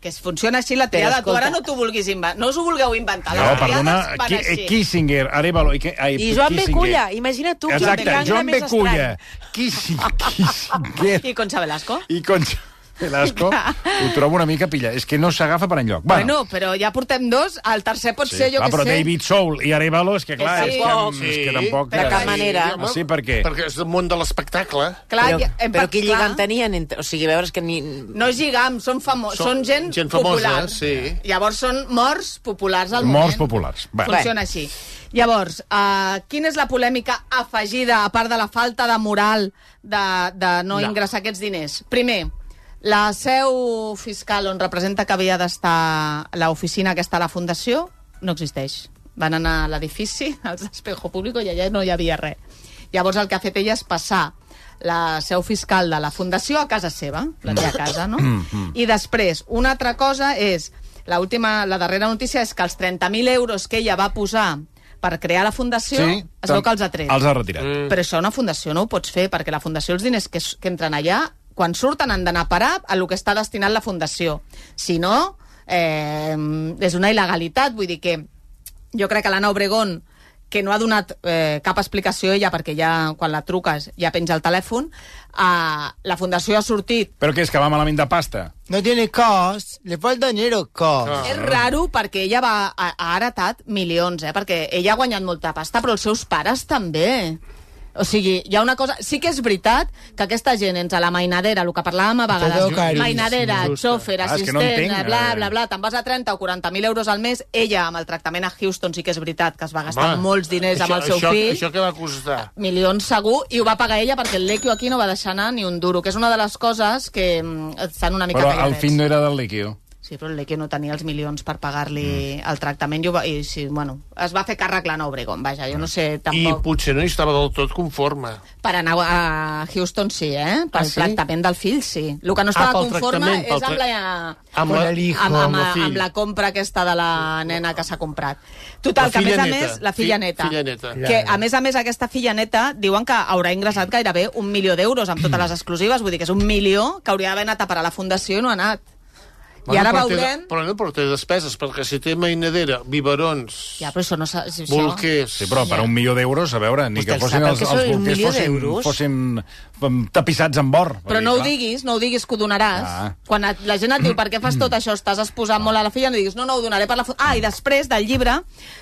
B: Que es funciona així la
E: Però
B: triada. Tu
E: escolta-
B: ara no t'ho vulguis inventar. No us ho vulgueu inventar.
A: No,
B: Les
A: perdona,
B: triades van
A: Ki,
B: així.
A: eh, Kissinger, Arevalo... I, que- ai,
E: I Joan
A: Kissinger.
E: Beculla, imagina tu, Joan
A: Exacte,
E: Beculla,
A: Joan
E: més
A: Beculla,
E: estrany.
A: Kissi- Kissinger
B: I Concha Velasco.
A: i Concha Velasco, ho trobo una mica pilla. És que no s'agafa per enlloc.
B: Bueno, però ja portem dos. El tercer pot ser, jo
A: clar,
B: que
A: Ah, però
B: sé...
A: David Soul i Arevalo, és que
B: Que
A: clar,
B: sí.
A: és, que,
F: Sí.
A: és que tampoc...
E: De
A: eh,
E: cap manera.
F: home.
A: Sí, per què?
F: Perquè és del món de l'espectacle.
B: Clar,
E: Però,
B: ja- hem
E: però
B: par-
E: quin
B: clar.
E: lligam tenien? Entre, o sigui, veus que ni...
B: No és lligam, són, famo...
F: Són-
B: són, gent,
F: gent famosa,
B: popular.
F: sí.
B: Llavors són morts populars al moment.
A: Morts populars. Va.
B: Funciona així. Llavors, uh, quina és la polèmica afegida, a part de la falta de moral de, de no,
F: No.
B: ingressar aquests diners? Primer, la seu fiscal on representa que havia d'estar l'oficina que està a la Fundació no existeix. Van anar a l'edifici, als Espejo Público, i allà no hi havia res. Llavors el que ha fet ella és passar la seu fiscal de la Fundació a casa seva, la té a casa, no? I després, una altra cosa és, la, última, la darrera notícia és que els 30.000 euros que ella va posar per crear la Fundació, es veu que els ha tret.
A: Els ha retirat. Mm.
B: Però això una fundació no ho pots fer, perquè la fundació els diners que, s- que entren allà, quan surten han d'anar a parar a lo que està destinat la fundació. Si no, eh, és una il·legalitat, vull dir que jo crec que l'Anna Obregón que no ha donat eh, cap explicació ella, perquè ja quan la truques ja penja el telèfon, eh, la fundació ha sortit
A: Però què és, que va malament de pasta?
C: No tiene cos, le falta dinero cos.
B: És
A: Ah.
B: raro perquè ella va, ha, ha heretat milions, eh? perquè ella ha guanyat molta pasta, però els seus pares també. O sigui, hi ha una cosa... Sí que és veritat que aquesta gent, entre la mainadera, el que parlàvem a
C: Tot
B: vegades,
C: caríssim,
B: mainadera,
F: justa.
B: xòfer,
A: Ah, és que
B: assistent,
A: no entenc,
B: bla,
A: eh.
B: bla, bla, te'n vas a 30 o 40.000 euros al mes, ella, amb el tractament a Houston, sí que és veritat que es va gastar
F: Home,
B: molts diners amb el seu
F: això,
B: fill Ah,
F: Això que va costar.
B: milions segur, i ho va pagar ella perquè el Lequio aquí no va deixar anar ni un duro, que és una de les coses que mm, estan una mica
A: Però al
B: calladets.
A: fin no era del líquido.
B: Sí, però el Leque no tenia els milions per pagar-li mm. el tractament i, ho va, i sí, bueno, es va fer càrrec l'Anna Obregón, vaja, jo no sé
F: Mm. I
B: tampoc...
F: potser no hi estava del tot conforme.
B: Per anar a Houston sí, eh? Per
F: Ah,
B: ah,
F: sí?
B: sí? tractament del fill sí. El que no
F: Ah,
B: estava
F: pel
B: conforme
F: tractament, pel
B: és amb
F: tra-
B: la,
F: Amb la-
B: amb, amb,
F: amb
B: amb,
F: el fill.
B: amb la compra aquesta de la nena que s'ha comprat. Total,
F: La
B: que a més
F: filla
B: a
F: neta.
B: més, la filla
F: Fi-
B: neta.
F: filla neta.
B: Que a més a més aquesta filla neta diuen que haurà ingressat gairebé un milió d'euros amb totes les exclusives, vull dir que és un milió que hauria d'haver anat a parar a la fundació i no ha anat. I
F: Bueno,
B: ara
F: però té-
B: veurem...
F: Però no, però té despeses, perquè si té mainadera, biberons,
B: Ja, però això no s'ha... Això...
F: bolquers...
A: Sí, però per un milió d'euros, a veure, ni
E: Vostè
A: que fossin
E: sap el
A: els,
E: que
A: els
E: són un
A: bolquers
E: milió
A: fossin,
E: d'euros?
A: fossin mm, tapissats amb or.
B: Però no ho diguis, no ho diguis que ho donaràs.
A: Ah.
B: Quan et- la gent et diu per què fas tot això, estàs exposant molt a la filla, no diguis no, no, ho donaré per la... fu-". Ah, i després del llibre,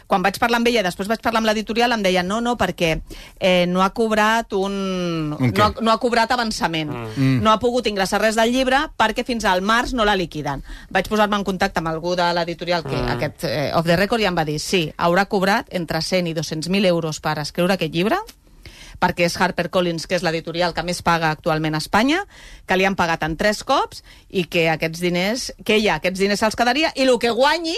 B: quan vaig parlar amb ella i després vaig parlar amb l'editorial, em deien no, no, perquè eh, no ha cobrat un...
A: Un què?
B: no, ha, no ha cobrat avançament. Mm. No ha pogut ingressar res del llibre perquè fins al març no la liquiden. vaig posar-me en contacte amb algú de l'editorial que
E: Ah.
B: aquest eh, Off the Record i em va dir sí, haurà cobrat entre 100 i 200.000 euros per escriure aquest llibre perquè és HarperCollins, que és l'editorial que més paga actualment a Espanya, que li han pagat en tres cops i que aquests diners, que ella aquests diners se'ls quedaria i el que guanyi,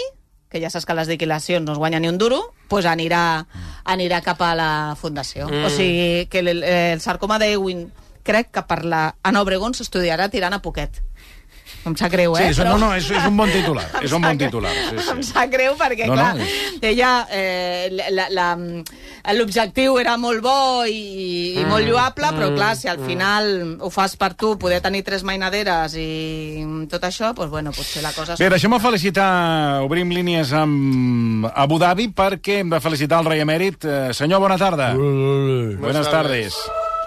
B: que ja saps que les liquidacions no es guanya ni un duro, pues anirà, anirà cap a la fundació.
E: Mm.
B: Mm. O sigui, que el, el sarcoma d'Ewin crec que per la Ana Obregón s'estudiarà tirant a poquet. Em sap greu,
A: Sí,
B: eh?
A: és, no, no, és, és un bon titular. És un bon titular, sí,
B: Em
A: sí.
B: sap greu perquè,
A: No, no,
B: no, clar,
A: és-
B: ella, eh, la- la- la- l'objectiu era molt bo i,
A: Mm,
B: i molt lloable, però clar, si al final ho fas per tu, poder tenir tres mainaderes i tot això, doncs bueno, potser la cosa...
A: Bé, deixem-me felicitar, obrim línies amb Abu Dhabi perquè hem de felicitar el rei emèrit. Eh, senyor, bona tarda.
D: Buenas
A: Buenas tardes.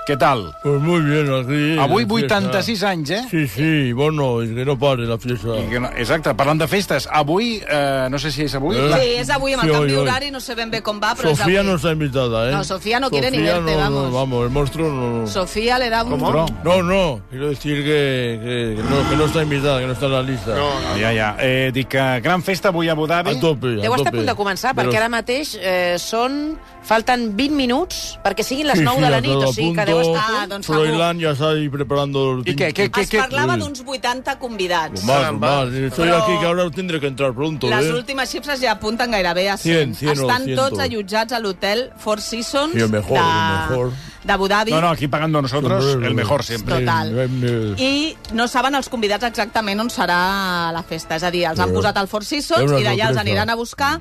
A: Què tal?
D: Pues muy bien, aquí.
A: Avui
D: la
A: 86
D: fiesta.
A: anys, eh?
D: Sí, sí, bueno, es que no pare la fiesta.
A: I que no, exacte, parlant de festes, avui, eh, no sé si és avui...
D: Eh?
A: la-
B: Sí, és avui amb el
D: Sí,
B: canvi
D: oi, oi.
B: horari, no sé ben bé com va, però
D: Sofía
B: és avui.
D: no está invitada, ¿eh?
B: No, Sofía no quiere ni verte,
D: no,
B: vamos.
D: No, vamos, el monstruo no. no.
B: Sofía le da un...
D: No, no, quiero decir que, que- que no, que no está invitada, que no está en la lista.
A: No, eh. ja, ja. Eh, dic que gran festa avui a Abu Dhabi.
D: Al tope, al
E: Deu estar a
D: tope.
E: punt de començar,
D: Però-
E: perquè ara mateix eh, són... Falten 20 minuts perquè siguin les
D: Sí,
E: 9
D: sí,
E: de la
D: a
E: nit,
D: todo
E: o sigui que
D: punto.
E: deu estar...
B: Ah, doncs segur.
D: Froilán ya está ahí preparando...
A: I què, què, què,
B: Es
A: què?
B: parlava d'uns 80
D: Lo
B: convidats.
D: más, lo más. Estoy
B: Pero-
D: aquí que ahora tendré que entrar pronto,
B: Les
D: ¿eh?
B: últimes xifres ja apunten gairebé a 100.
D: Cien, cien o
B: Estan
D: ciento.
B: tots allotjats a l'hotel Four Seasons
D: Sí, el mejor, el
B: de,
D: mejor.
B: d'Abu Dhabi.
A: No, no, aquí pagando nosotros
D: Hombre,
A: el mejor siempre.
B: Total.
D: Bien, bien.
B: I no saben els convidats exactament on serà la festa. És a dir, els han
D: Però-
B: posat al Four
D: és
B: Seasons
D: una
B: i d'allà els
D: sorpresa.
B: aniran a buscar.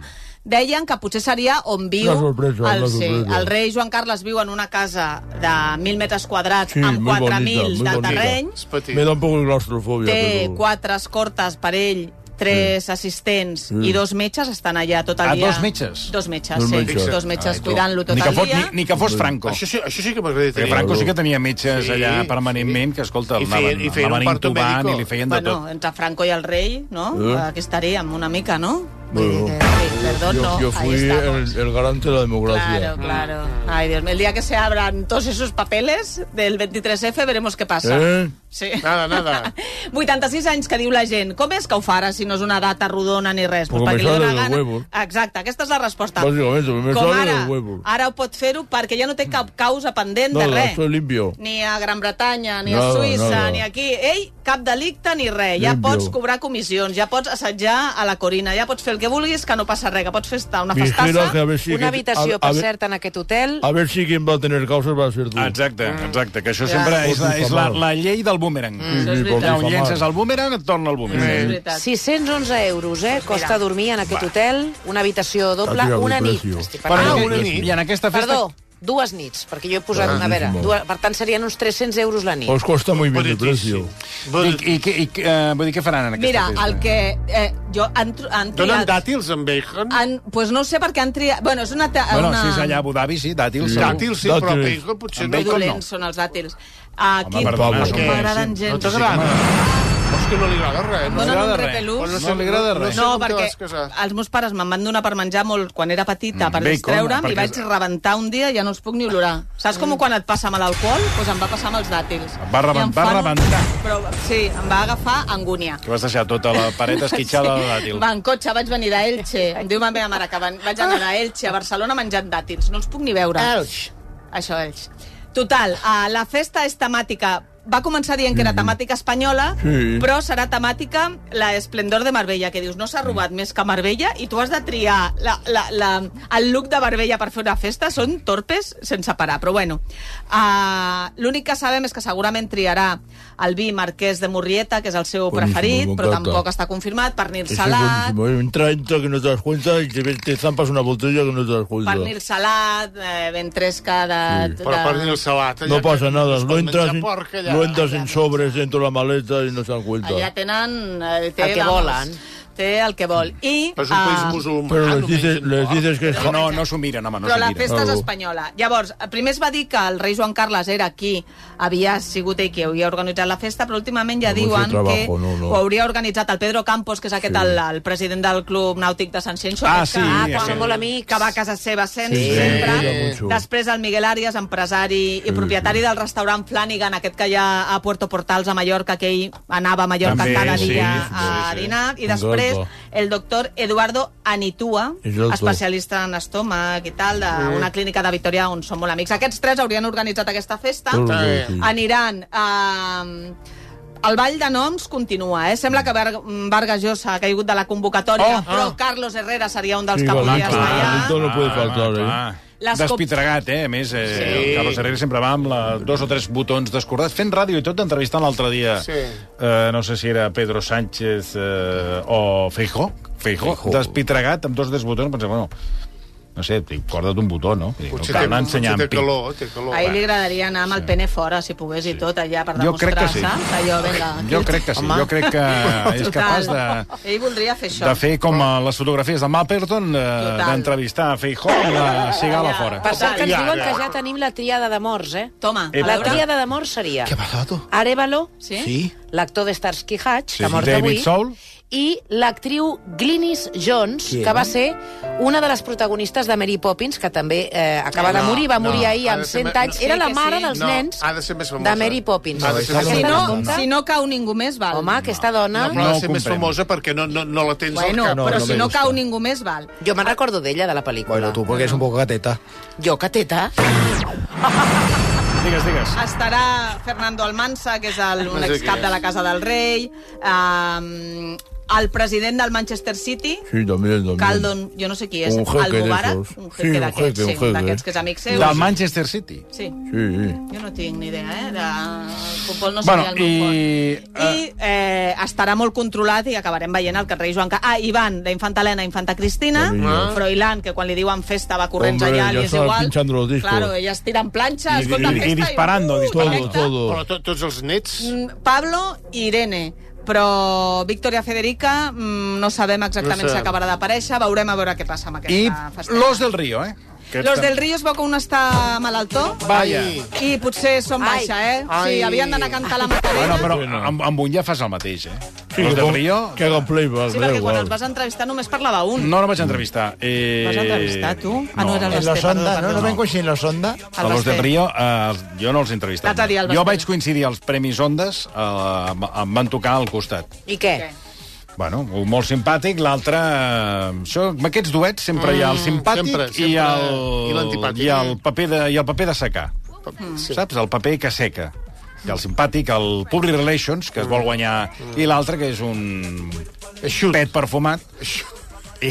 B: Deien que potser seria on viu...
D: Una sorpresa,
B: el,
D: una
B: sí,
D: sorpresa.
B: el rei Joan Carles viu en una casa de 1.000 metres quadrats
D: Sí,
B: amb
D: muy bonita,
B: 4.000
D: muy
B: de
D: bonita.
B: terreny.
F: És
A: Pues
F: petit.
D: Me da un poco de claustrofobia,
B: Té
D: pero...
B: quatre escortes per ell, tres assistents
D: Sí.
B: i dos metges estan allà tot el
A: Mm. Ah,
B: dia.
A: dos metges?
B: Dos metges,
D: Dos
B: sí.
D: metges.
B: Dos metges
A: Ai, tu.
B: cuidant-lo tot
A: ni que
B: el
A: fos,
B: dia.
A: Ni, ni que fos Franco.
F: Això sí, això sí que m'agradaria
A: Perquè
F: tenir.
A: Franco sí que
D: Però-
A: tenia metges
F: Sí,
A: allà permanentment, que, escolta, el
F: I feien-
A: anaven,
F: i feien un
A: anaven
F: parto
A: intubant
F: médico.
A: i li feien de
B: Bueno, entre Franco i el rei, no?
D: Eh?
B: Aquí estaríem una mica, no? Vull
D: Bueno.
B: dir que, sí, perdón,
D: Yo,
B: no.
D: yo
B: ahí
D: fui
B: estamos.
D: el, el garante de la democracia.
A: Mm.
B: Claro, claro. Ay, Dios mío. El día que se abran todos esos papeles del 23F veremos qué pasa.
D: Eh?
B: Sí.
A: Ah,
F: Nada, nada.
B: 86 anys que diu la gent. Com és que ho farà si no és una data rodona ni res?
D: Porque me sale de huevos.
B: Exacte, aquesta és la resposta.
D: Básicamente, me
B: Com
D: sale
B: ara,
D: de huevos.
B: ara ho pot fer-ho perquè ja no té cap causa pendent
D: No,
B: de
D: no,
B: res.
D: estoy limpio.
B: Ni a Gran Bretanya, ni a
D: Nada,
B: Suïssa,
D: nada.
B: ni aquí. Ell, cap delicte ni res. Ja
D: Limpio.
B: pots cobrar comissions, ja pots assetjar a la Corina, ja pots fer el que vulguis, que no passa res, que pots festar una
D: Vigila que a
B: festassa...
D: ver si...
E: Una
D: a-
E: habitació,
D: a
E: per
D: ver-
E: cert, en aquest hotel.
D: A ver si quien va a tener causas va a ser tú.
A: Exacte, exacte, que això sempre
D: Ja.
A: és, la, és la, la llei del boomerang. Mm.
B: Això és
D: por
A: Ja,
B: veritat.
A: on llences el boomerang, et torna el
B: És
A: boomerang.
B: veritat. Doncs
E: 611 euros, eh? Costa dormir en aquest hotel, una habitació doble,
D: tirat un
E: una nit.
D: precio.
E: Estic
A: Però,
E: parlant-
F: Ah,
A: i-
F: una
A: i-
F: nit.
A: I en aquesta festa...
E: Perdó, dues nits, perquè jo he posat una vera.
D: Claríssim.
E: Dues, per tant, serien uns 300 euros la nit.
D: Os cuesta muy bien el precio.
F: Bonitíssim.
A: I,
F: Bon-
A: i, i, i eh, vull dir, què faran en aquesta
B: Mira,
A: festa?
B: el que... Eh, jo han, tr- han
F: Donen
B: triat...
F: dàtils amb bacon?
B: Han, pues no ho sé perquè han triat... Bueno, és una... ta-
A: Bueno,
B: una...
A: si és allà a Abu Dhabi, sí, dàtils.
D: Sí.
A: segur.
F: Dàtils, sí, però
D: Dàtils.
F: bacon potser
A: Amb
F: no.
B: Que
A: bacon.
B: dolents són els dàtils. Aquí,
A: Home, perdona,
D: són
B: no m'agraden
A: boníssims.
B: gens.
F: No t'agrada? És que no li agrada res. No,
B: Donen un
A: agrada res.
B: repelús.
A: No, no li agrada res.
B: No,
F: sé com te
B: perquè
F: vas casar.
B: els meus pares me'n van donar per menjar molt quan era petita, per
A: bacon,
B: distreure'm,
A: perquè-
B: i vaig rebentar un dia i ja no els puc ni olorar. Saps com quan et passa amb l'alcohol? Doncs em va passar amb els dàtils.
A: Et va
B: I em
A: reben- va
B: fan un-
A: rebentar.
B: Però, sí, em va agafar angúnia.
A: Que vas deixar tota la paret esquitxada de dàtil.
B: Va, en cotxe, vaig venir d'Elche. Em diu ma meva mare que van, vaig anar a Elche, a Barcelona, menjant dàtils. No els puc ni veure. Elx. Això, Elx. Total, uh, la festa és temàtica va començar dient que era temàtica espanyola,
D: Sí.
B: però serà temàtica la esplendor de Marbella, que dius, no s'ha robat més que Marbella, i tu has de triar la, la, la, el look de Marbella per fer una festa, són torpes sense parar, però bueno. Uh, L'únic que sabem és que segurament triarà el vi Marquès de Murrieta, que és el seu
D: Boníssim,
B: preferit, però
D: m'encanta.
B: tampoc està confirmat, pernil
D: Ese es
B: salat,
D: buenísimo, ¿eh? Entra, entra, que no te das cuenta y te, ves- te zampas una botella que no te das cuenta.
B: pernil salat, eh, ventresca de...
F: Però per dir el salat... allà
D: No pasa
F: que
D: nada,
F: es
D: no
F: pot
D: entras,
F: menjar
D: en,
F: porc, allà.
D: no entras en sobres dentro de la maleta y no se dan cuenta.
B: Allà tenen... Eh, té,
E: El que
B: vamos,
E: volen.
B: té el que vol. I,
F: És un país
B: ah,
F: musulmà.
D: Però les
F: només
D: dices,
F: un
D: les
F: mort.
D: dices que...
A: No, no, no s'ho miren, home, no
B: però
A: s'ho
B: la
A: miren.
B: festa és
D: Oh.
B: espanyola. Llavors, primer es va dir que el rei Joan Carles era qui havia sigut ell qui havia organitzat la festa, però últimament ja
D: No vull
B: diuen
D: fer trabajo,
B: que
D: no, no.
B: ho hauria organitzat el Pedro Campos, que és aquest el, el president del Club Nàutic de Sant Ciencio,
A: Ah,
B: aquest
A: sí,
E: Ah,
A: Sí,
E: que
A: sí.
E: són molt
B: que,
E: amics.
B: que va a casa seva sent
D: Sí,
B: sempre.
D: sí, sí, mucho.
B: Després el Miguel Arias, empresari i propietari del restaurant Flanagan, aquest que hi ha a Puerto Portals, a Mallorca, que ell anava a Mallorca
A: També,
B: cada
A: sí,
B: dia
A: sí,
B: a
A: sí.
B: dinar. I
D: Un
B: després
D: dolpo.
B: el doctor Eduardo Anitua,
D: És el doctor.
B: especialista en estómac i tal, d'una clínica de Vitoria on són molt amics. Aquests tres haurien organitzat aquesta festa.
D: Ah,
F: Eh,
B: Aniran a... El ball de noms continua, eh? Sembla que Ber- Vargas Llosa ha caigut de la convocatòria,
A: Oh,
B: però
A: ah.
B: Carlos Herrera seria un dels
D: Sí,
B: que
D: clar,
B: podia estar allà.
D: Carlito Ah, no puede faltar, eh?
A: Ah,
B: Les cop-
A: Despitregat, eh? A més, eh,
F: Sí.
A: el Carlos Herrera sempre va amb la, dos o tres botons descordats, fent ràdio i tot, entrevistant l'altre dia,
F: Sí.
A: eh, no sé si era Pedro Sánchez eh, o Feijó, Feijó, despitregat amb dos o tres botons, pensava, bueno, no sé, corda't un botó, no? Vull dir,
F: Potser
A: no cal
F: té,
A: anar
F: potser
A: ensenyant.
F: té calor, té calor.
B: A ell li agradaria anar amb el pene fora, si pogués, i tot, allà, per
A: Jo crec que
B: demostrar-se.
A: sí.
B: Allò, vinga,
A: Jo
B: aquí.
A: crec que sí,
B: Home.
A: jo crec que és
B: Total.
A: capaç de...
B: Ell voldria fer això.
A: De fer com a les fotografies de Mapperton, eh,
B: Total.
A: d'entrevistar a Feijó amb la cigala
B: Ja.
A: fora.
E: Per cert, que ens
F: Ja,
E: diuen
F: ja.
E: que ja tenim la triada de morts, eh?
B: Toma, a
E: La
A: Epa.
B: veure...
E: triada de morts seria
C: ¿Qué ha pasado?
E: Arevalo,
B: Sí?
E: l'actor de Starsky Hatch,
A: Sí,
E: que ha mort
A: David
E: avui,
A: Soul.
E: i l'actriu Glynis Jones,
C: Qui
E: que va
C: era?
E: ser una de les protagonistes de Mary Poppins, que també eh, acaba de
F: No,
E: morir, va
F: no.
E: morir ahir
F: Ha de
E: amb
F: ser
E: 100
F: me-
E: anys.
F: no.
E: Era
B: Sí
E: la
B: que
E: mare
B: sí.
E: dels
F: No,
E: nens
F: ha de ser més famosa.
E: de Mary Poppins.
F: No, ha de ser més
E: Aquesta
C: famosa.
E: dona-
B: Si no cau ningú més, val.
E: Home, aquesta dona...
F: No, però ha
A: No
F: de ser més
A: comprem.
F: famosa perquè no, no, no la tens
B: bueno,
F: al cap.
C: no,
B: però
C: no
B: si
C: me
B: no
C: gusta.
B: cau ningú més, val.
E: Jo me'n recordo d'ella, de la pel·lícula.
C: Bueno, tú porque eres un poco gateta.
E: Jo, que teta.
A: Digues, digues.
B: Ah, Estarà Fernando Almansa, que és el, un
F: No sé
B: excap
F: qui és.
B: de la Casa del Rei, um, el president del Manchester City,
D: Sí, también, también.
B: Caldon, jo no sé qui és,
D: Un jeque
B: Almubara,
D: d'esos.
B: un
D: Sí,
B: jeque
D: un
B: d'aquests,
D: jeque, un
B: sí,
D: jeque.
B: d'aquests que és amic seu.
A: Del Manchester City.
B: Sí,
D: Sí, sí.
B: jo no tinc ni idea, eh? De... Futbol no
A: Bueno,
B: seria el meu fort.
A: i...
B: I eh, estarà molt controlat i acabarem veient el que el rei Joan... Ca- Ah, Ivan, la infanta Helena, infanta Cristina, Ah.
D: Maravilloso.
B: Froilán, que quan li diuen festa va corrents
D: Hombre,
B: allà,
D: ja
B: li és
D: estava
B: igual.
D: pinchando los discos.
B: Claro, ella es tiren planxa,
A: I-
B: escolta
A: i- i
B: festa...
A: disparando, disparando.
D: Todo,
B: correcte.
D: todo.
F: Però to, tots els nets...
B: Mm, Pablo i Irene però Victoria Federica mm, no sabem exactament
F: No
B: si
F: sabem.
B: acabarà d'aparèixer, veurem a veure què passa
A: I
B: amb aquesta festa.
A: Los del Río, eh?
B: Los del Río es veu que un està malaltó
A: Vaya.
B: i potser són
E: Ai.
B: baixa, eh? Sí,
F: Ai.
B: havien d'anar a cantar la Macarena.
A: Bueno, però amb, amb un ja fas el mateix, eh?
D: Sí,
A: Los
D: que
A: del
D: pon-
A: Río...
D: Que hagan playback,
B: Sí,
D: da
B: perquè quan
D: igual.
B: els vas entrevistar només parlava un.
A: No, no vaig entrevistar. Eh...
B: Vas entrevistar, tu? Ah, no, era
C: En
B: Los
C: los
B: Tepa,
C: ondas,
B: perdó.
C: ¿no? No me encuentro en los ondas.
B: El
A: A los del
B: Basté.
A: Río, eh, jo no els he entrevistat.
B: L'haig de dir, el
A: mai. Jo
B: Basté.
A: vaig coincidir als Premis Ondes, eh, em- em van tocar al costat.
E: I què?
A: Bueno, un molt simpàtic, l'altre... eh, Això, amb aquests duets sempre mm, hi ha el simpàtic
F: sempre,
A: i
F: sempre.
A: el,
F: I l'antipàtic.
A: i, el paper de, i el paper de secar. Sí. Saps? El paper que seca. I el simpàtic, el public relations, que es vol guanyar, i l'altre, que és un
F: Eixut.
A: pet perfumat. I,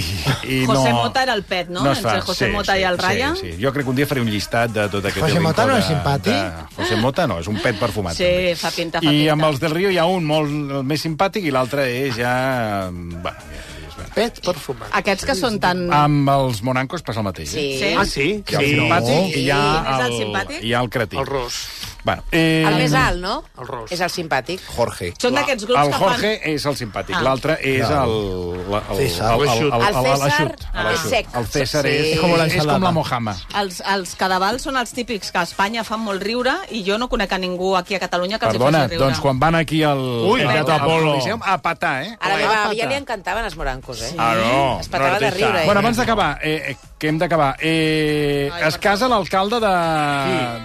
A: i
B: José
A: no,
B: Mota era el pet, no?
A: No es fa.
B: Entre José
A: sí,
B: Mota
A: sí,
B: i el Raya.
A: Sí, sí. Jo crec que un dia faré un llistat de tot aquest...
C: José
A: elenco
C: Mota no
A: de-
C: és simpàtic?
A: De... José Mota no, és un pet perfumat.
B: Sí,
A: també.
B: fa pinta, fa
A: I
B: pinta.
A: amb els del Rio hi ha un molt el més simpàtic i l'altre és ja... Bueno, ja és, bueno.
F: Pet perfumat.
B: Aquests que són tan...
A: Amb els monancos passa el mateix.
E: Sí.
A: Eh?
B: Sí?
F: Ah, sí?
A: Hi ha el simpàtic i hi ha
B: És el
A: el,
B: simpàtic?
A: hi ha el cretí.
F: El ros.
A: Bueno, eh,
E: El més alt, no?
F: Mm. El ros.
E: És el simpàtic.
C: Jorge.
B: Són d'aquests grups
A: El
B: que fan...
A: Jorge és el simpàtic,
B: Ah.
A: l'altre és
C: No.
A: el... la- el,
C: César.
E: El César
A: l'aixut, a l'aixut.
E: és sec.
A: El César és,
E: Sí.
A: és, com
E: Com
C: la
A: la, és
C: ensalada.
A: com la Mojama.
B: Els, els cadavals són els típics que a Espanya fan molt riure i jo no conec a ningú aquí a Catalunya que
A: Perdona,
B: els hi faci riure.
A: doncs quan van aquí al...
D: Ui,
A: al-
D: Beto
A: al
D: Apolo.
A: Coliseum, A patar, eh?
E: A la meva àvia li encantaven els morancos, eh?
A: Ah, no.
E: Es patava de riure, eh?
A: Bueno, abans d'acabar, eh, eh, que hem d'acabar, eh,
B: Ai,
A: es casa l'alcalde de,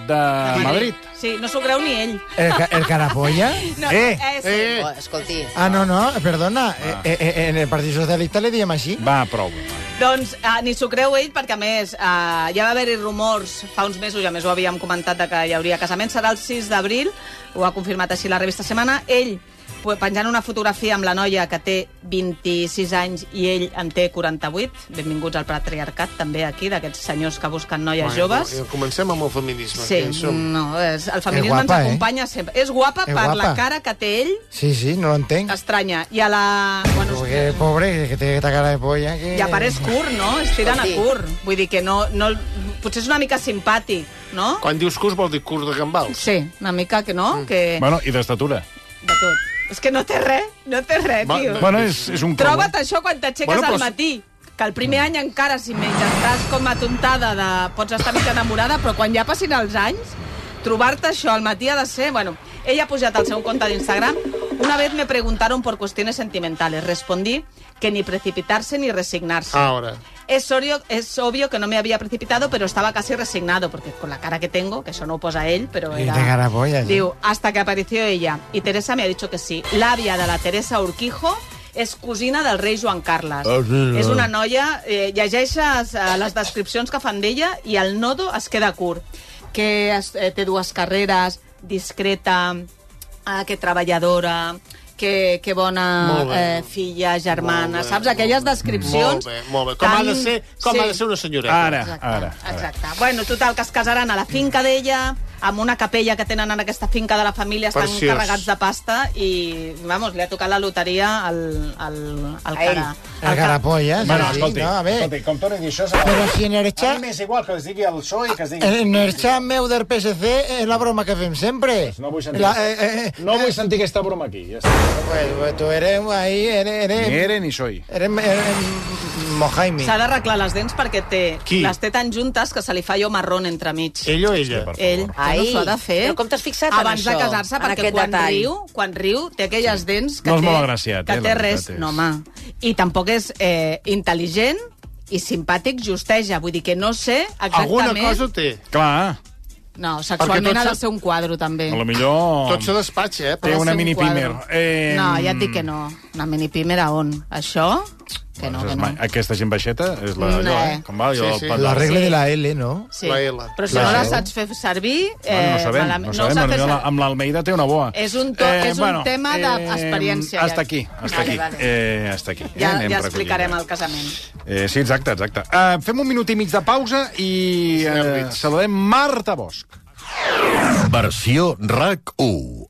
A: de Madrid.
B: Sí, no s'ho creu ni ell.
C: ¿El, ca- el carapolla?
B: No,
A: Eh,
B: sí.
F: Eh,
E: Oh, escolti,
C: Ah, no, no, perdona.
B: Ah.
C: Eh, eh, eh, en el Partido Socialista le diem así.
A: Va, prou.
B: Doncs uh, ni s'ho creu ell, perquè a més uh, ja va haver-hi rumors fa uns mesos, i a més ho havíem comentat, de que hi hauria casament. Serà el 6 d'abril, ho ha confirmat així la revista Setmana. Ell pu- penjant una fotografia amb la noia que té 26 anys i ell en té 48. Benvinguts al patriarcat, també, aquí, d'aquests senyors que busquen noies joves.
F: Bueno, comencem amb el feminisme.
B: Sí, Mm.
F: que en som.
B: no, és, el feminisme
C: guapa, eh?
B: ens acompanya sempre. És guapa
C: És
B: per la
C: guapa.
B: cara que té ell,
C: Sí, sí, no lo entiendo.
B: estranya. I a la... Bueno,
C: Porque pobre, que tiene esta cara de polla que...
B: I a part és curt, no? És tirant a
E: Sí.
B: curt. Vull dir que no, no... Potser és una mica simpàtic, no?
F: Quan dius curs vol dir curs de gambals.
C: Mm.
B: Sí, eh. una mica que no, que...
A: Bueno, i d'estatura.
B: De tot. És que no té res, no té res,
A: Va,
B: tio.
A: bueno, és- és un cau,
B: Troba't
A: eh?
B: això quan t'aixeques
A: Bueno,
B: bueno,
A: però
B: al
A: s-
B: matí. Que el primer any encara, si menys, estàs com a tontada de... Pots estar mica enamorada, però quan ja passin els anys, trobar-te això al matí ha de ser... Bueno, ella ha pujat al seu compte d'Instagram. Una vez me preguntaron por cuestiones sentimentales. Respondí que ni precipitarse ni resignarse.
A: Ah.
F: Ahora.
B: Es obvio, es obvio que no me había precipitado, pero estaba casi resignado, porque con la cara que tengo, que eso no posa él, pero
C: Y
B: era...
C: de ¿eh? garabolla, ¿no?
B: Diu, hasta que apareció ella. Y Teresa me ha dicho que sí. L'àvia de la Teresa Urquijo és cosina del rei Joan Carles.
D: Ah, sí, no.
B: és una noia... Eh, llegeixes eh, les descripcions que fan d'ella i el nodo es queda curt. Que es, eh, té dues carreres, discreta, eh, que treballadora, que, que bona
F: Molt bé.
B: eh, filla, germana...
F: Molt bé,
B: Saps? Aquelles descripcions...
F: Molt bé, molt bé. Com ha de ser- com ha de ser una senyoreta.
A: Ara,
B: Exacte,
A: ara, ara.
B: Exacte. Bueno, total, que es casaran a la finca d'ella, amb una capella que tenen en aquesta finca de la família, estan
F: Preciós.
B: carregats de pasta i, vamos, li ha tocat la loteria al, al, al
E: A ell.
B: cara.
C: El garapollas.
A: Bueno,
C: sí,
A: escolti,
C: no, a veure.
A: escolti, com torni a dir això... serà-
C: Però si en el
A: A
C: xat-
A: mi m'és igual que es digui el PSOE i que es digui...
C: En el xat meu del PSC és la broma que fem sempre.
A: No vull sentir,
C: La, eh, eh,
A: no vull sentir aquesta broma aquí. Ja està.
C: Pues, pues tu eres ahí, eres...
A: Ni
C: Eres,
A: ere ni soy.
B: Eh,
C: eres, eres Mojaime.
B: S'ha d'arreglar les dents perquè té,
F: Qui?
B: les té tan juntes que se li fa jo marrón entremig.
F: Ell o ella?
A: per-
B: Ell, que
E: Ai,
B: no s'ho ha de fer.
E: però com t'has fixat en
B: Abans
E: això,
B: de casar-se,
E: en
B: perquè
E: aquest
B: quan
E: detall?
B: riu, quan riu, té aquelles dents que
A: No és
B: té,
A: molt agraciat,
B: que
A: eh, la
B: té
A: veritat
B: res.
A: és.
B: No, home. I tampoc és eh, intel·ligent i simpàtic justeja. Vull dir que no sé
F: Alguna
B: exactament...
F: cosa té.
A: Clar,
B: No,
F: Perquè
B: sexualment
F: tot
B: ha de
F: se-
B: ser un quadro, també.
A: a lo millor...
F: Tot se despatxa, eh?
B: Ha de
A: Té
B: ser
A: una
B: un
A: mini
B: quadre.
A: pimer. Eh,
B: No, ja et dic que no. Una mini pimer a on? Això?
A: Doncs
B: Que no, Mm, que no.
A: Aquesta gent baixeta és la...
B: No.
A: Allò, eh? Com va? Allò,
F: Sí, sí.
A: el pan-
C: La regla de la L, ¿no?
B: Sí.
F: La L.
B: Però si
C: La
B: no la
C: L.
B: saps fer servir... Eh,
A: Bueno, no sabem,
B: malament.
A: no
B: ho
A: sabem.
B: saps
A: No
B: fer
A: la,
B: servir.
A: amb l'Almeida té una boa. Eh,
B: És un to- és un tema d'experiència, ja.
A: Hasta aquí, hasta
B: Vale,
A: aquí.
B: vale.
A: Eh, hasta aquí.
B: Ja,
A: anem
B: ja
A: recollint.
B: explicarem el casament.
A: Eh, sí, exacte, exacte. Uh, fem un minut i mig de pausa i eh, saludem Marta Bosch.
K: Versió RAC 1.